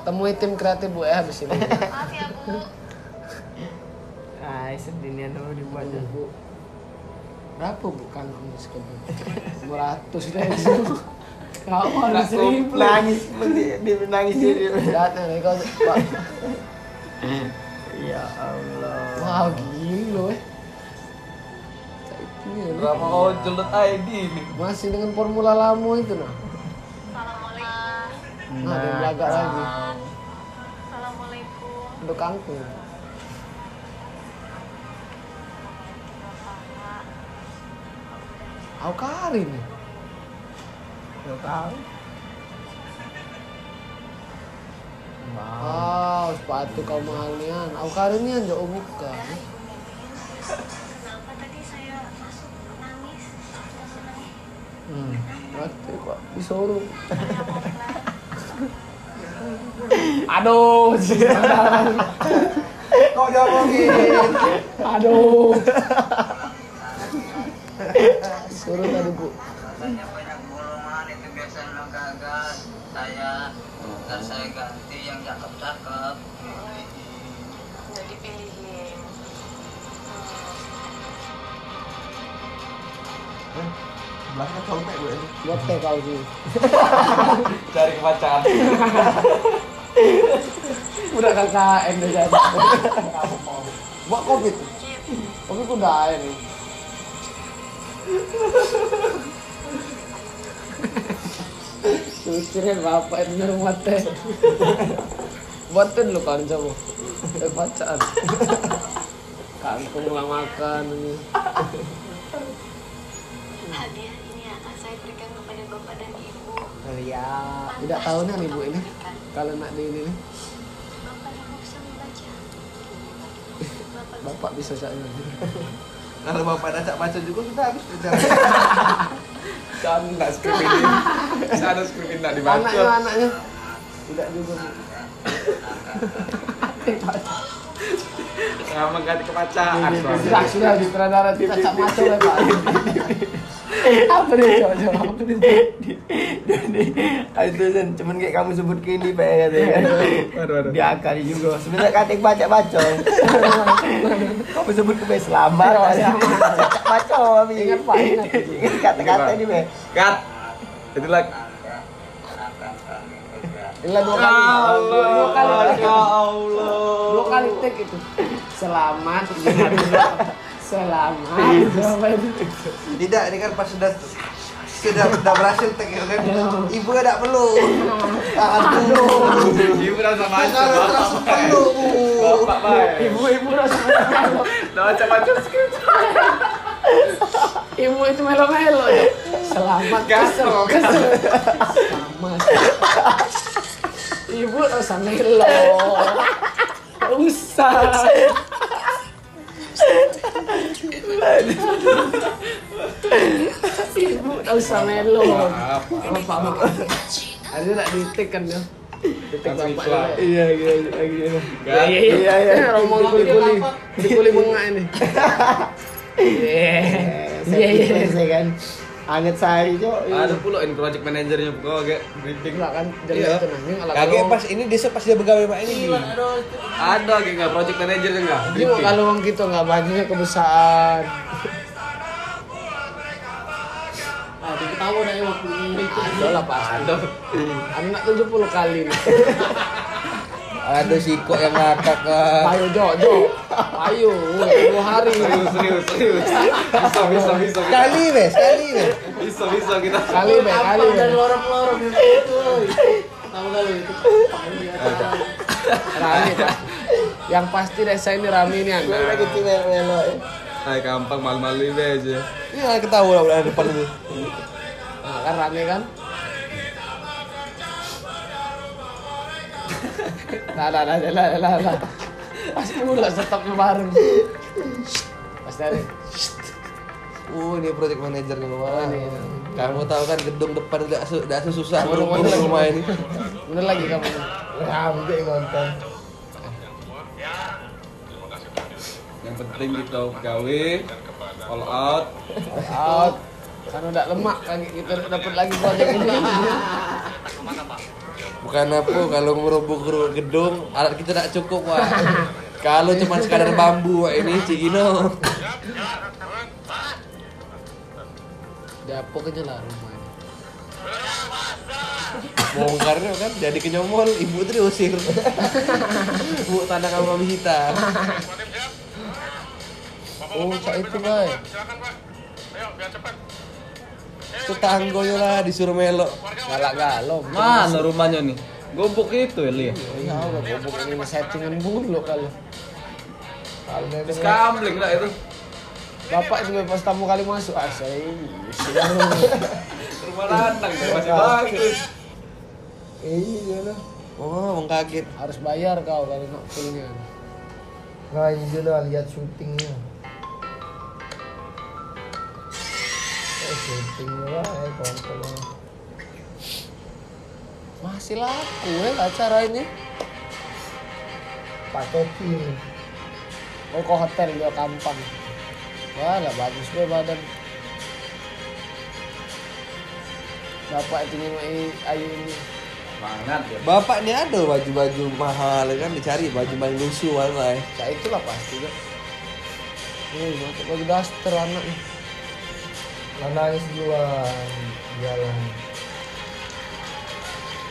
[SPEAKER 1] Temui tim kreatif bu ya habis ini
[SPEAKER 6] Maaf ya bu.
[SPEAKER 5] Ay sedihnya dulu dibuatnya.
[SPEAKER 1] Bu, Berapa bu kangkung sekempet? 200 deh bu Gak mau ada seribu
[SPEAKER 5] Nangis, dia dia nangis dia. dia-
[SPEAKER 1] Datang nih kau, Pak.
[SPEAKER 5] Ya Allah.
[SPEAKER 1] wow gila eh Cak itu ya nih.
[SPEAKER 3] Drama ojol ID ini.
[SPEAKER 1] Masih dengan formula lama itu nah
[SPEAKER 6] Assalamualaikum.
[SPEAKER 1] Nah, ada yang belagak lagi
[SPEAKER 6] Assalamualaikum.
[SPEAKER 1] Untuk kangkung tahu Karin ya? Nggak tahu. Wow, sepatu kau mahalian. Aku Karinnya jauh buka.
[SPEAKER 6] Kenapa tadi saya masuk nangis?
[SPEAKER 1] Hmm. Mati kok disuruh. Aduh,
[SPEAKER 3] Kau diomongin.
[SPEAKER 1] aduh. Suruh tadi bu.
[SPEAKER 7] banyak-banyak bolongan itu biasanya gagal saya ntar saya ganti yang cakep-cakep
[SPEAKER 6] Nggak dipilihin.
[SPEAKER 2] Belakang cowok gue ini.
[SPEAKER 1] Buat teh kau sih.
[SPEAKER 4] Cari pacar.
[SPEAKER 1] Udah KKN deh jadi. Buat covid. Covid udah ada nih. Susirnya bapak itu rumah teh. Buatin lu kan coba. Eh pacaran. Kangkung lah makan ini.
[SPEAKER 6] Hadiah ini akan saya berikan kepada bapak dan ibu.
[SPEAKER 1] Oh iya, tidak tahu nih ibu ini. Kalau nak di ini nih,
[SPEAKER 6] Bapak yang bisa membaca. Bapak bisa
[SPEAKER 1] bapak bisa saja.
[SPEAKER 2] Kalau bapak ajak pacar juga kita habis kerja.
[SPEAKER 4] Kan nggak skrip ini. Sana skrip ini nggak
[SPEAKER 1] Anaknya
[SPEAKER 4] dibaca.
[SPEAKER 1] anaknya tidak juga. Bu.
[SPEAKER 4] Sama ganti ke pacar.
[SPEAKER 1] Sudah sudah di pradara di cacat maco lah (laughs) pak. Eh, Apa nih cowok cowok? Apa nih?
[SPEAKER 5] Jadi, (laughs) itu Sen, cuman kayak kamu sebut gini Pak ya
[SPEAKER 1] (laughs)
[SPEAKER 5] katanya.
[SPEAKER 4] Waduh, waduh.
[SPEAKER 5] Diakali juga. Sebenarnya katik baca
[SPEAKER 1] (laughs)
[SPEAKER 5] baca. kamu sebut ke selamat. Baca baca Abi.
[SPEAKER 1] Iya, Ingat, Pak, ingat.
[SPEAKER 5] Ingat kata-kata ini Pak.
[SPEAKER 4] Cut. Itu lah.
[SPEAKER 1] Inilah dua kali. Dua
[SPEAKER 4] Ya
[SPEAKER 1] kali.
[SPEAKER 4] Allah. Ya Allah.
[SPEAKER 1] Dua kali take itu. Selamat. ingat dua. Selamat. Selamat.
[SPEAKER 2] Tidak, ini kan pas sudah sudah sudah berhasil tek ya kan. Ibu tidak perlu. Tangan dulu.
[SPEAKER 4] Ibu rasa macam
[SPEAKER 2] Kalau terasa
[SPEAKER 4] bapak.
[SPEAKER 2] perlu. Bu.
[SPEAKER 4] Bapak baik.
[SPEAKER 1] Ibu ibu rasa melo-melo.
[SPEAKER 4] Dah macam macam skrip.
[SPEAKER 1] Ibu itu melo melo. Selamat. Kesel kesel. Selamat. Ibu rasa melo. Usah. Ibu tak usah melo.
[SPEAKER 4] Maaf.
[SPEAKER 1] Bapak bapak. Ada tak ditek kan dia? Ditek
[SPEAKER 4] Langsung
[SPEAKER 1] bapak.
[SPEAKER 4] iklan.
[SPEAKER 1] dia.
[SPEAKER 5] Iya iya iya.
[SPEAKER 1] Iya
[SPEAKER 4] Cut.
[SPEAKER 1] iya iya.
[SPEAKER 5] iya.
[SPEAKER 1] Ngomong kuli-kuli. Kuli-kuli mengak ini. (laughs) Iya. Iya
[SPEAKER 5] Saya
[SPEAKER 1] iya.
[SPEAKER 5] pikir saya kan. Anget sehari cok.
[SPEAKER 4] Ada pula ini project manajernya kok agak meeting.
[SPEAKER 1] Enggak kan jadi
[SPEAKER 4] Iya.
[SPEAKER 1] tenang nih kalau
[SPEAKER 2] Kaget pas ini dia pas dia bergawe sama ini.
[SPEAKER 4] Ada kayak nggak project manajernya nggak?
[SPEAKER 1] Gimana kalau orang kita nggak bajunya kebesaran? Ah, tiga tahun
[SPEAKER 3] ya
[SPEAKER 1] aja waktu ini. Ada lah pasti.
[SPEAKER 4] Ada.
[SPEAKER 1] Anak 70 kali.
[SPEAKER 2] (laughs)
[SPEAKER 1] nih.
[SPEAKER 2] Ada si kok yang ngakak kan.
[SPEAKER 1] Payo Jojo. Payo, dua hari.
[SPEAKER 4] Serius serius serius. Bisa bisa bisa. kita.
[SPEAKER 2] Sekali weh, sekali weh.
[SPEAKER 4] Bisa bisa kita.
[SPEAKER 1] Kali be, kali be.
[SPEAKER 3] lorong-lorong itu. Tahu kali itu. ya,
[SPEAKER 1] Rame Pak. Yang pasti desa ini rame nih
[SPEAKER 5] Gue
[SPEAKER 1] anak.
[SPEAKER 5] lagi cewek melo.
[SPEAKER 4] Hai gampang malu-malu ini aja.
[SPEAKER 2] Iya ketahuan lah udah depan itu.
[SPEAKER 1] Nah, kan rame kan? (laughs) Nah, nah, nah, nah, nah, nah, nah. Pasti udah setapnya bareng. Pasti ada.
[SPEAKER 2] Uh, ini project manager nih, Wah.
[SPEAKER 1] Ini.
[SPEAKER 2] Kamu tahu kan gedung depan udah asu, udah asu susah
[SPEAKER 1] Baru
[SPEAKER 2] baru
[SPEAKER 1] mau lagi.
[SPEAKER 2] rumah ini.
[SPEAKER 1] Bener lagi kamu.
[SPEAKER 5] Rambut nonton.
[SPEAKER 4] Yang penting kita gawe all out.
[SPEAKER 1] Out. Kan udah lemak kaki kita udah dapat lagi project ini.
[SPEAKER 2] Bukan apa kalau merubuk-rubuk gedung alat kita tidak cukup, (laughs) Wah. Kalau cuma sekadar bambu Wah ini Cigino.
[SPEAKER 1] Dapok aja lah rumahnya.
[SPEAKER 2] Bongkarnya kan jadi kenyomol, ibu tuh diusir. Bu tanah kamu kami hitam.
[SPEAKER 1] Oh, cak itu, Bay.
[SPEAKER 2] Tetanggonya lah disuruh melok.
[SPEAKER 1] Galak-galak.
[SPEAKER 4] Mana rumahnya nih? Gobok itu Eli.
[SPEAKER 1] Ya, udah bobok ini settingan bulu kalau.
[SPEAKER 4] Terus kamling lah itu.
[SPEAKER 1] Bapak sebagai pas tamu kali masuk, ah saya
[SPEAKER 4] Rumah lanang itu masih bagus.
[SPEAKER 1] Iya lah,
[SPEAKER 2] Oh, wong kaget.
[SPEAKER 1] harus bayar kau kalau nak pulangnya.
[SPEAKER 5] Nah, itu dah lihat syutingnya. Eh, syutingnya lah, eh, kontolnya.
[SPEAKER 1] Masih laku ya acara ini.
[SPEAKER 5] Paketin.
[SPEAKER 1] Oh, ke hotel dia kampang. Wah, lah bagus be badan. Bapak itu nyemai ayu ini.
[SPEAKER 4] Banget ya.
[SPEAKER 2] Bapak ini ada baju-baju mahal kan dicari baju paling lusuh mana
[SPEAKER 1] Ya itulah pasti kan. Wih, mantap bagi daster anaknya.
[SPEAKER 5] Nah, nangis duluan. Jalan.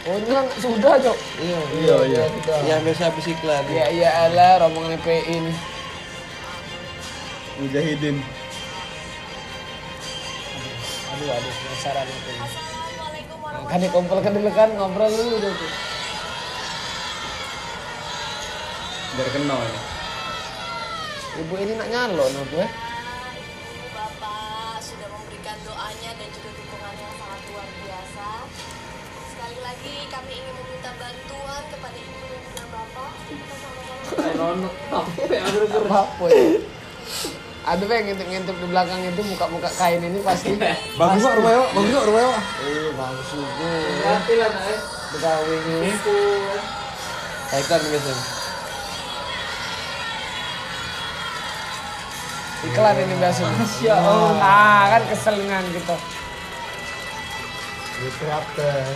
[SPEAKER 1] Oh, nyerang sudah, Jok.
[SPEAKER 2] Iya,
[SPEAKER 5] Iya, iya. Sudah.
[SPEAKER 2] Yang biasa habis iklan.
[SPEAKER 1] Ya iya elah rombongan PI ini.
[SPEAKER 2] Mujahidin.
[SPEAKER 1] Aduh aduh penasaran aku. ini.
[SPEAKER 6] Assalamualaikum
[SPEAKER 1] Kan dikumpulkan dulu kan ngobrol dulu deh tuh.
[SPEAKER 4] Biar kenal ya.
[SPEAKER 1] Ibu ini nak nyalon aku ya.
[SPEAKER 6] warahmatullahi Bapak sudah memberikan doanya dan juga dukungannya yang sangat luar biasa. Sekali lagi kami ingin meminta bantuan kepada Ibu dan juga Bapak. Kita sama-sama
[SPEAKER 1] Tak apa ya. Ada yang ngintip-ngintip di belakang itu muka-muka kain ini
[SPEAKER 3] (laughs)
[SPEAKER 1] pasti.
[SPEAKER 2] Bagus kok rumahnya, Wak. bagus kok rumahnya. Wak.
[SPEAKER 1] Eh bagus juga.
[SPEAKER 3] Hati lah nak eh. Gitu.
[SPEAKER 1] Begawi ini.
[SPEAKER 2] Nah, iklan biasa.
[SPEAKER 1] Iklan ini biasa.
[SPEAKER 3] (laughs) Ya
[SPEAKER 1] Masya Allah. Ah kan keselingan kita.
[SPEAKER 5] Diterapkan.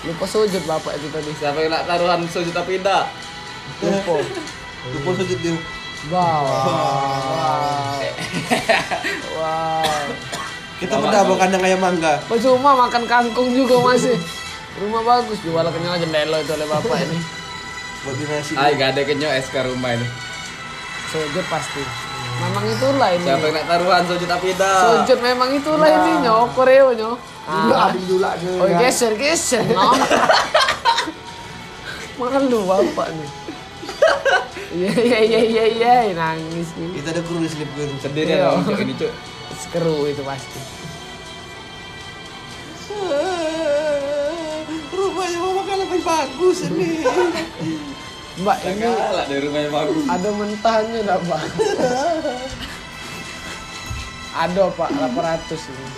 [SPEAKER 1] Lupa sujud bapak itu tadi.
[SPEAKER 4] Siapa yang nak taruhan sejuta pindah?
[SPEAKER 1] Lupa.
[SPEAKER 2] Lupa sujud dia.
[SPEAKER 1] Wow. Wow. Wow.
[SPEAKER 2] Kita pernah bawa kandang ayam mangga.
[SPEAKER 1] Percuma makan kangkung juga masih. Rumah bagus jual kenyal jendela itu oleh bapak ini.
[SPEAKER 2] Buat beli nasi.
[SPEAKER 4] Ay, gak ada kenyok SK rumah ini.
[SPEAKER 1] Sujud pasti. Memang itulah ini.
[SPEAKER 4] Siapa yang nak taruhan sejuta pindah?
[SPEAKER 1] Sujud memang itulah ini nyo koreo nyo.
[SPEAKER 5] Dulu
[SPEAKER 1] Ah.
[SPEAKER 5] abis dulu ke.
[SPEAKER 1] Oh geser geser no. (laughs) Malu bapak nih. Iya iya iya iya iya nangis nih.
[SPEAKER 2] Kita ada kru di slip guru.
[SPEAKER 4] Sendiri ya,
[SPEAKER 1] Iya.
[SPEAKER 4] cok ini cok.
[SPEAKER 1] Sekeru itu pasti.
[SPEAKER 2] Rumahnya mama kan lebih bagus ini.
[SPEAKER 1] Mbak ini
[SPEAKER 4] Enggak dari rumah yang bagus.
[SPEAKER 1] ada mentahnya enggak pak? (laughs) ada pak 800 ini.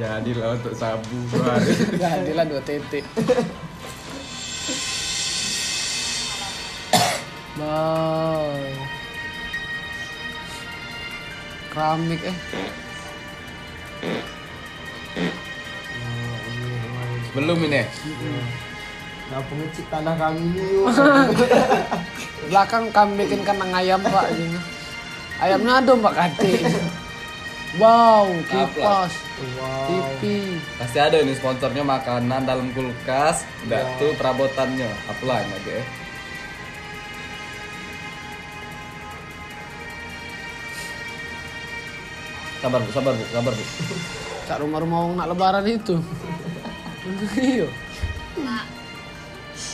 [SPEAKER 4] Jadilah untuk sabu sehari.
[SPEAKER 1] Jadilah dua titik. Wow. Keramik eh.
[SPEAKER 4] Belum ini.
[SPEAKER 5] Kenapa ngecek tanah kami ini? yuk?
[SPEAKER 1] Belakang kami bikin kandang ayam pak ini. Ayamnya ada mbak Kati. Wow, kipas,
[SPEAKER 5] Wow.
[SPEAKER 1] TV.
[SPEAKER 4] Pasti ada ini sponsornya makanan dalam kulkas, enggak
[SPEAKER 1] Ya.
[SPEAKER 4] tuh perabotannya. ya? Apalah enggak deh. Sabar bu, sabar bu, sabar bu.
[SPEAKER 1] Cak rumah-rumah orang nak lebaran itu. Iya.
[SPEAKER 6] Pak,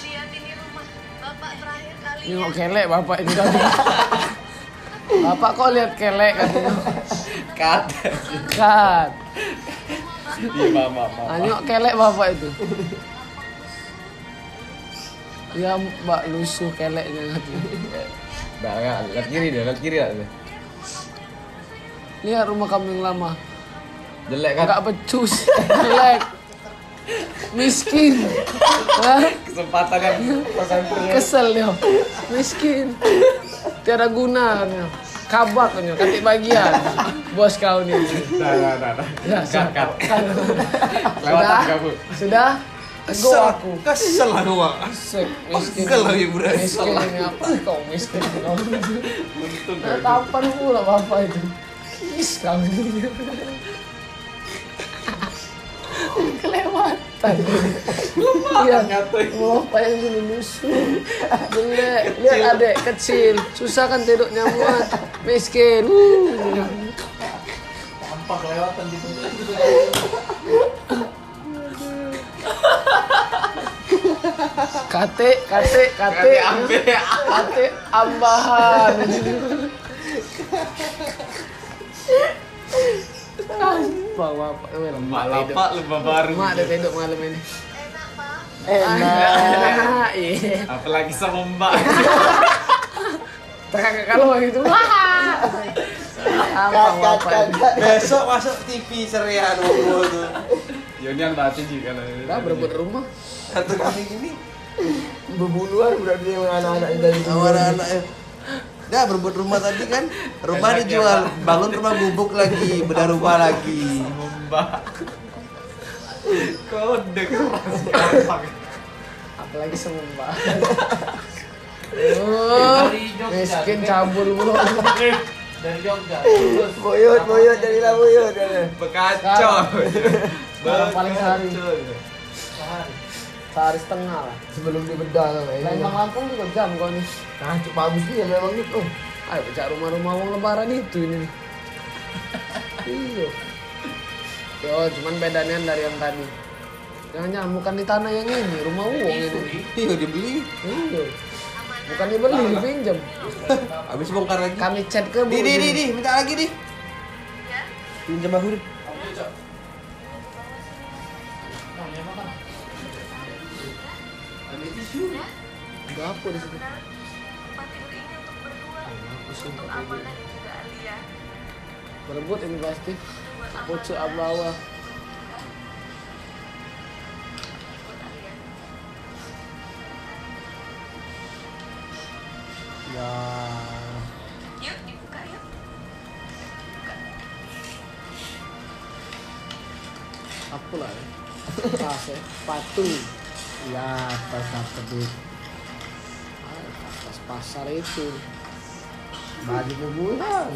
[SPEAKER 6] lihat ini rumah Bapak terakhir kali.
[SPEAKER 1] Nengok kelek bapak ini tadi. Bapak kok lihat kelek katanya.
[SPEAKER 4] Cut.
[SPEAKER 1] Kat.
[SPEAKER 4] Iya mama, mama.
[SPEAKER 1] Nanyok Nah, kelek bapak itu. Ya mbak lusuh keleknya katanya.
[SPEAKER 4] Enggak, enggak, lihat kiri deh, lihat kiri lah.
[SPEAKER 1] Lihat rumah kambing lama.
[SPEAKER 4] Jelek kan?
[SPEAKER 1] Enggak becus, jelek. Miskin. Hah?
[SPEAKER 4] Kesempatan yang
[SPEAKER 1] Kesel dia. Miskin. Tiada guna dia. Kabak dia, katik bagian. Bos kau ni.
[SPEAKER 4] Nah, nah, nah, nah.
[SPEAKER 1] Ya,
[SPEAKER 4] Cut, cut. Lewatan
[SPEAKER 1] Sudah?
[SPEAKER 4] kamu.
[SPEAKER 1] Sudah? Tegur aku.
[SPEAKER 2] Kesel aku, Wak.
[SPEAKER 1] Sek, miskin.
[SPEAKER 2] Kesel lagi, Bro.
[SPEAKER 1] Miskin ini apa? Kau miskin kau.
[SPEAKER 4] Untung deh.
[SPEAKER 1] Tatapan pula bapak itu. Is kau ini. Kelewatan. Iya, bapak yang dulu lusuh. Jelek. Lihat adek kecil. Susah kan tidurnya muat. Miskin. Uh.
[SPEAKER 3] Tampak kelewatan gitu.
[SPEAKER 1] Kate, kate, kate. Kate ambahan. lupa bapak eh, well,
[SPEAKER 4] Mak
[SPEAKER 1] tedok.
[SPEAKER 4] lapak lebah baru.
[SPEAKER 1] Mak ada tedok malam ini.
[SPEAKER 6] Enak, Pak.
[SPEAKER 5] Eh, nah,
[SPEAKER 1] Enak. Iya.
[SPEAKER 4] Apalagi sama
[SPEAKER 1] (laughs)
[SPEAKER 4] Mbak.
[SPEAKER 1] Kakak kalau begitu. Wah. Apa bapak?
[SPEAKER 2] Besok masuk TV serian wong tuh.
[SPEAKER 4] Yonian mati juga lah.
[SPEAKER 1] Kita berebut rumah.
[SPEAKER 2] Satu kami gini
[SPEAKER 5] Bebuluan berarti yang anak-anak dari
[SPEAKER 2] sama anak-anak ya. Dah berebut rumah tadi kan, rumah
[SPEAKER 4] Enak ya,
[SPEAKER 2] dijual, bangun rumah gubuk lagi, bedah rumah lagi.
[SPEAKER 4] Sama Mbak.
[SPEAKER 1] (laughs)
[SPEAKER 4] Kode keras gampang.
[SPEAKER 1] Apalagi sama mbak.
[SPEAKER 3] Kita
[SPEAKER 1] Oh,
[SPEAKER 3] dari Jogja,
[SPEAKER 1] miskin
[SPEAKER 3] kita-
[SPEAKER 1] cabul mulu.
[SPEAKER 3] dari Jogja terus
[SPEAKER 5] Boyot,
[SPEAKER 3] sama-
[SPEAKER 5] boyot, jadilah boyot.
[SPEAKER 4] Bekacau.
[SPEAKER 1] Sekarang paling sehari.
[SPEAKER 3] sehari.
[SPEAKER 1] Sehari setengah lah.
[SPEAKER 5] Sebelum dibedah sama ini.
[SPEAKER 1] Lembang Lampung juga jam Nah, kau nih.
[SPEAKER 5] Kacau bagus
[SPEAKER 1] iya,
[SPEAKER 5] dia memang itu.
[SPEAKER 1] Oh, Ayo pecah rumah-rumah uang lebaran itu ini. iya. Yo, cuman bedanya dari yang tadi. Yang nyamuk kan di tanah yang ini, rumah uang ini.
[SPEAKER 2] Iya dibeli,
[SPEAKER 1] Iya. Bukan dibeli, dipinjam.
[SPEAKER 2] habis bongkar lagi.
[SPEAKER 1] Kami chat ke Bu.
[SPEAKER 2] Nah, Di, di, di, di, minta lagi di.
[SPEAKER 6] Ya.
[SPEAKER 2] Pinjam aku di.
[SPEAKER 1] Gak apa di situ.
[SPEAKER 6] Tempat tidur ini untuk berdua.
[SPEAKER 1] Iya,
[SPEAKER 6] Untuk Abang dan juga Alia.
[SPEAKER 1] Berebut ini pasti. Pucu abawa.
[SPEAKER 6] Buat Alia.
[SPEAKER 5] Ya.
[SPEAKER 6] Yuk, dibuka yuk.
[SPEAKER 1] Aku lah.
[SPEAKER 5] (laughs)
[SPEAKER 1] ya. Tas ya, patu.
[SPEAKER 5] Ya, pas apa tuh?
[SPEAKER 1] Ah, Tas pasar itu.
[SPEAKER 5] Baju kebulan.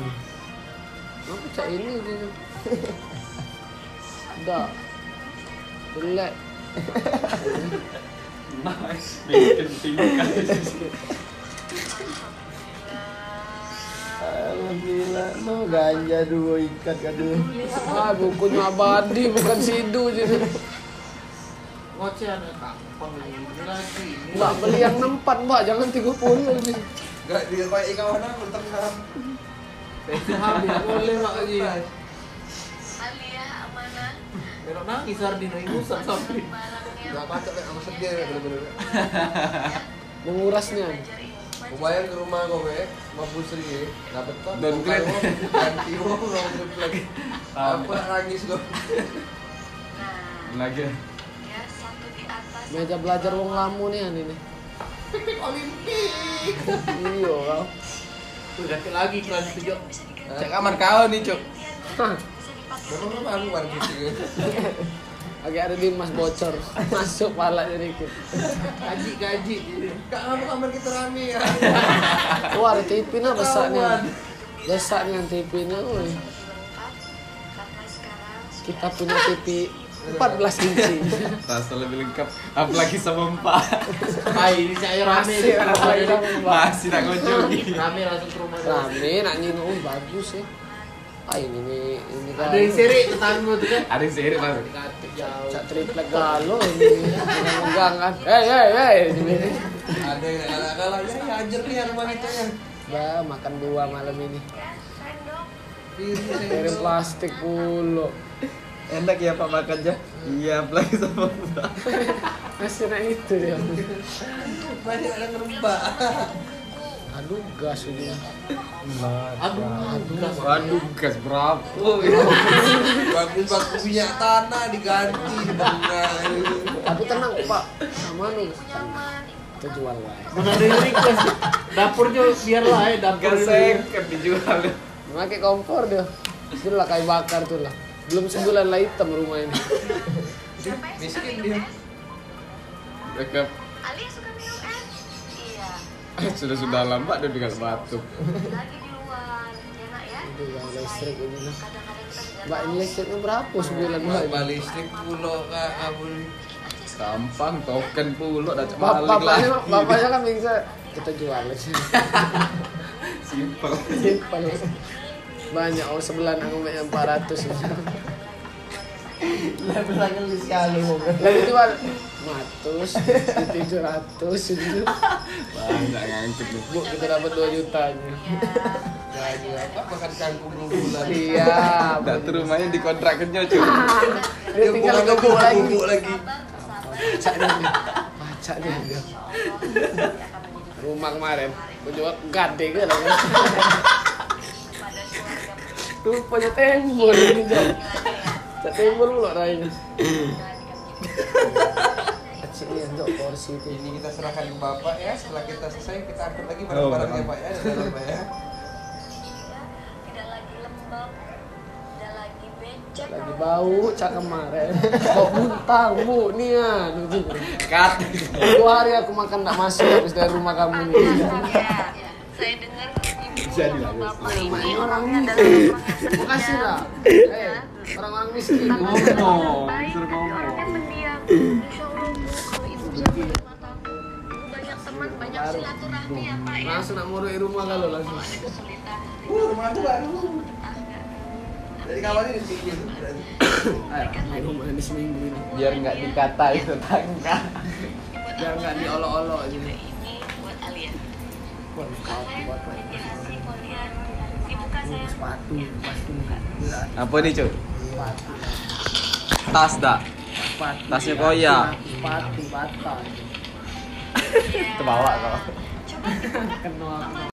[SPEAKER 1] Mau pecah ini gitu. (laughs) Dah. Jelek.
[SPEAKER 4] Nice. Bikin tingkah.
[SPEAKER 5] Alhamdulillah, mau ganja dua ikat aduh.
[SPEAKER 1] Ah, bukunya abadi bukan sidu jadi.
[SPEAKER 3] ngoceh anak kampung ini lagi ini
[SPEAKER 1] Mbak beli yang nempat mbak, jangan 30 ini.
[SPEAKER 2] Gak dia kayak ikan mana, bertenang.
[SPEAKER 3] habis boleh mak lagi
[SPEAKER 6] Alia, amanah.
[SPEAKER 3] belok nangis Sardino ingusan sampai
[SPEAKER 6] Barangnya.
[SPEAKER 2] Gak pacak kayak sama sedih, bener-bener.
[SPEAKER 1] Mengurasnya.
[SPEAKER 6] belajar ilmu.
[SPEAKER 2] Lumayan ke rumah gue, be. mampu seri ya. Gak betul.
[SPEAKER 4] Don't clap.
[SPEAKER 2] Ganti gue, gak mau triplek. Apa nangis gue.
[SPEAKER 6] Nah,
[SPEAKER 4] Lagi.
[SPEAKER 6] ya satu di atas.
[SPEAKER 1] Meja belajar wong lamu nih ini. nih.
[SPEAKER 3] Olimpik
[SPEAKER 1] Iya kau.
[SPEAKER 3] tuh ganti lagi kelas tujuh
[SPEAKER 6] Bisa diganti. ya, kan?
[SPEAKER 2] Cek kamar kau nih, Cuk.
[SPEAKER 1] Eh. Hah,
[SPEAKER 6] Bisa dipakai. ya,
[SPEAKER 2] Memang rumah aku warna putih.
[SPEAKER 1] agak ada dimas bocor. Masuk palanya dikit.
[SPEAKER 3] gaji gaji
[SPEAKER 2] Kak, kamu kamar kita rame ya.
[SPEAKER 1] Wah, ada tipina besarnya. Besarnya tipina, woi.
[SPEAKER 6] Lebih lengkap. Karena sekarang
[SPEAKER 1] Kita punya TV 14 inci.
[SPEAKER 4] Rasa lebih lengkap. Apalagi sama Mbak.
[SPEAKER 3] hai ini saya rame
[SPEAKER 1] Masih ramai
[SPEAKER 4] Masih tak kunjungi.
[SPEAKER 3] rame langsung ke rumah
[SPEAKER 1] Rame, nak nyino, oh, bagus ya. Ah ini nih, ini kan.
[SPEAKER 3] ada yang seri tetangga tuh kan
[SPEAKER 4] Ada yang seirit mas.
[SPEAKER 3] Dikasih jauh
[SPEAKER 1] Cak triplek galo ini. Megang kan. Hei, hei, hei. Ini.
[SPEAKER 2] Ada yang kalah-kalah. Ya, anjir nih rumah kita ya.
[SPEAKER 1] Bah, makan dua malam ini.
[SPEAKER 6] kan? sendok.
[SPEAKER 1] Dari plastik pulu.
[SPEAKER 4] Enak ya Pak makannya? Iya, apalagi sama Mbak.
[SPEAKER 1] Masih nak itu ya. dia.
[SPEAKER 2] Banyak yang ngerembak.
[SPEAKER 1] Aduh, gas ini.
[SPEAKER 3] aduh aduh
[SPEAKER 4] Waduh, gas berapa?
[SPEAKER 2] Bagus baku minyak tanah diganti di bangai.
[SPEAKER 1] Tapi tenang, Pak. Sama lu.
[SPEAKER 6] Nyaman.
[SPEAKER 1] Kita jual lah.
[SPEAKER 3] Mana ada yang request dapurnya biarlah ya dapur
[SPEAKER 4] Gas seket dijual.
[SPEAKER 1] Memakai kompor dia. Itu lah kayu bakar tuh lah. Belum sebulan lah hitam rumah ini.
[SPEAKER 2] Miskin dia.
[SPEAKER 4] Dekat
[SPEAKER 6] Alia suka minum es? Iya.
[SPEAKER 4] sudah sudah lama dia dengan batuk.
[SPEAKER 6] Lagi di luar. Ya nak ya.
[SPEAKER 1] Itu yang listrik ini lah.
[SPEAKER 6] Kadang-kadang kita tidak
[SPEAKER 1] Mbak ini listriknya berapa sebulan Mbak?
[SPEAKER 2] Mbak listrik pulau kak kabul.
[SPEAKER 4] Gampang token pula dah
[SPEAKER 1] Bap-
[SPEAKER 4] balik
[SPEAKER 1] Bapaknya,
[SPEAKER 4] lagi.
[SPEAKER 1] bapaknya kan bisa kita jual aja.
[SPEAKER 4] Simpel.
[SPEAKER 1] Simple. Banyak oh sebulan aku punya 400
[SPEAKER 5] Level
[SPEAKER 1] kan
[SPEAKER 5] lagi lu sialu mau.
[SPEAKER 1] Lagi jual 500, 700 gitu.
[SPEAKER 4] Banyak ngangkut nih.
[SPEAKER 1] Bu, kita dapat 2 jutanya.
[SPEAKER 6] Iya.
[SPEAKER 2] Lagu apa? Makan kangkung dua bulan.
[SPEAKER 1] Iya. Siap.
[SPEAKER 4] Dak tuh rumahnya dikontrakannya cuy.
[SPEAKER 1] Dia tinggal gebuk lagi.
[SPEAKER 2] Bubuk lagi.
[SPEAKER 1] Baca nih dia.
[SPEAKER 6] Oh,
[SPEAKER 1] Rumah kemarin, gue jual gade kan. Tuh punya tembol ini jam. Cak tembol pula Rai. Acik ni untuk porsi tu.
[SPEAKER 2] Ini kita serahkan ke Bapak ya. Setelah kita selesai kita angkut lagi barang-barangnya Pak ya. di dalam, Pak ya.
[SPEAKER 6] Iya, tidak lagi lembab tidak lagi becek
[SPEAKER 1] Lagi bau cak kemarin. (laughs) Bau buntang bu ni ah.
[SPEAKER 4] Cut.
[SPEAKER 1] Dua hari aku makan tak masuk habis dari rumah kamu ni.
[SPEAKER 6] saya dengar ibu
[SPEAKER 4] Jadi
[SPEAKER 6] sama
[SPEAKER 4] lah,
[SPEAKER 6] bapak ini orangnya adalah orang yang
[SPEAKER 1] Makasih
[SPEAKER 6] pendiam.
[SPEAKER 1] lah. Eh, orang-orang miskin.
[SPEAKER 4] Ngomong,
[SPEAKER 6] Baik,
[SPEAKER 4] disuruh
[SPEAKER 6] tapi orangnya
[SPEAKER 4] ngomong.
[SPEAKER 6] pendiam. Insya Allah, Bu, kalau ibu bisa menerima tamu, Bu banyak teman, banyak silaturahmi ya Pak ya.
[SPEAKER 1] Langsung nak muruk rumah Eh, kalau langsung.
[SPEAKER 6] Kalau ada kesulitan,
[SPEAKER 2] Uh, rumah aku baru.
[SPEAKER 6] ah, enggak.
[SPEAKER 2] Dari kawannya di sini. berarti.
[SPEAKER 6] Berikan lagi
[SPEAKER 1] Rumah ini seminggu ini.
[SPEAKER 4] Biar nggak dikatain tetangga.
[SPEAKER 6] buat
[SPEAKER 1] Biar nggak diolok-olok
[SPEAKER 6] juga
[SPEAKER 1] gitu.
[SPEAKER 6] ini buat Alia.
[SPEAKER 1] Buat
[SPEAKER 6] Kalian inspirasi kalian. Dibuka sayang.
[SPEAKER 1] sepatu, sepatu,
[SPEAKER 4] Apa nih cuy? Tas dak.
[SPEAKER 1] sepatu.
[SPEAKER 4] Tasnya koyak.
[SPEAKER 1] Sepatu, bata.
[SPEAKER 4] Terbawa kok.
[SPEAKER 6] Iya. Coba dibuka.
[SPEAKER 1] Kenal.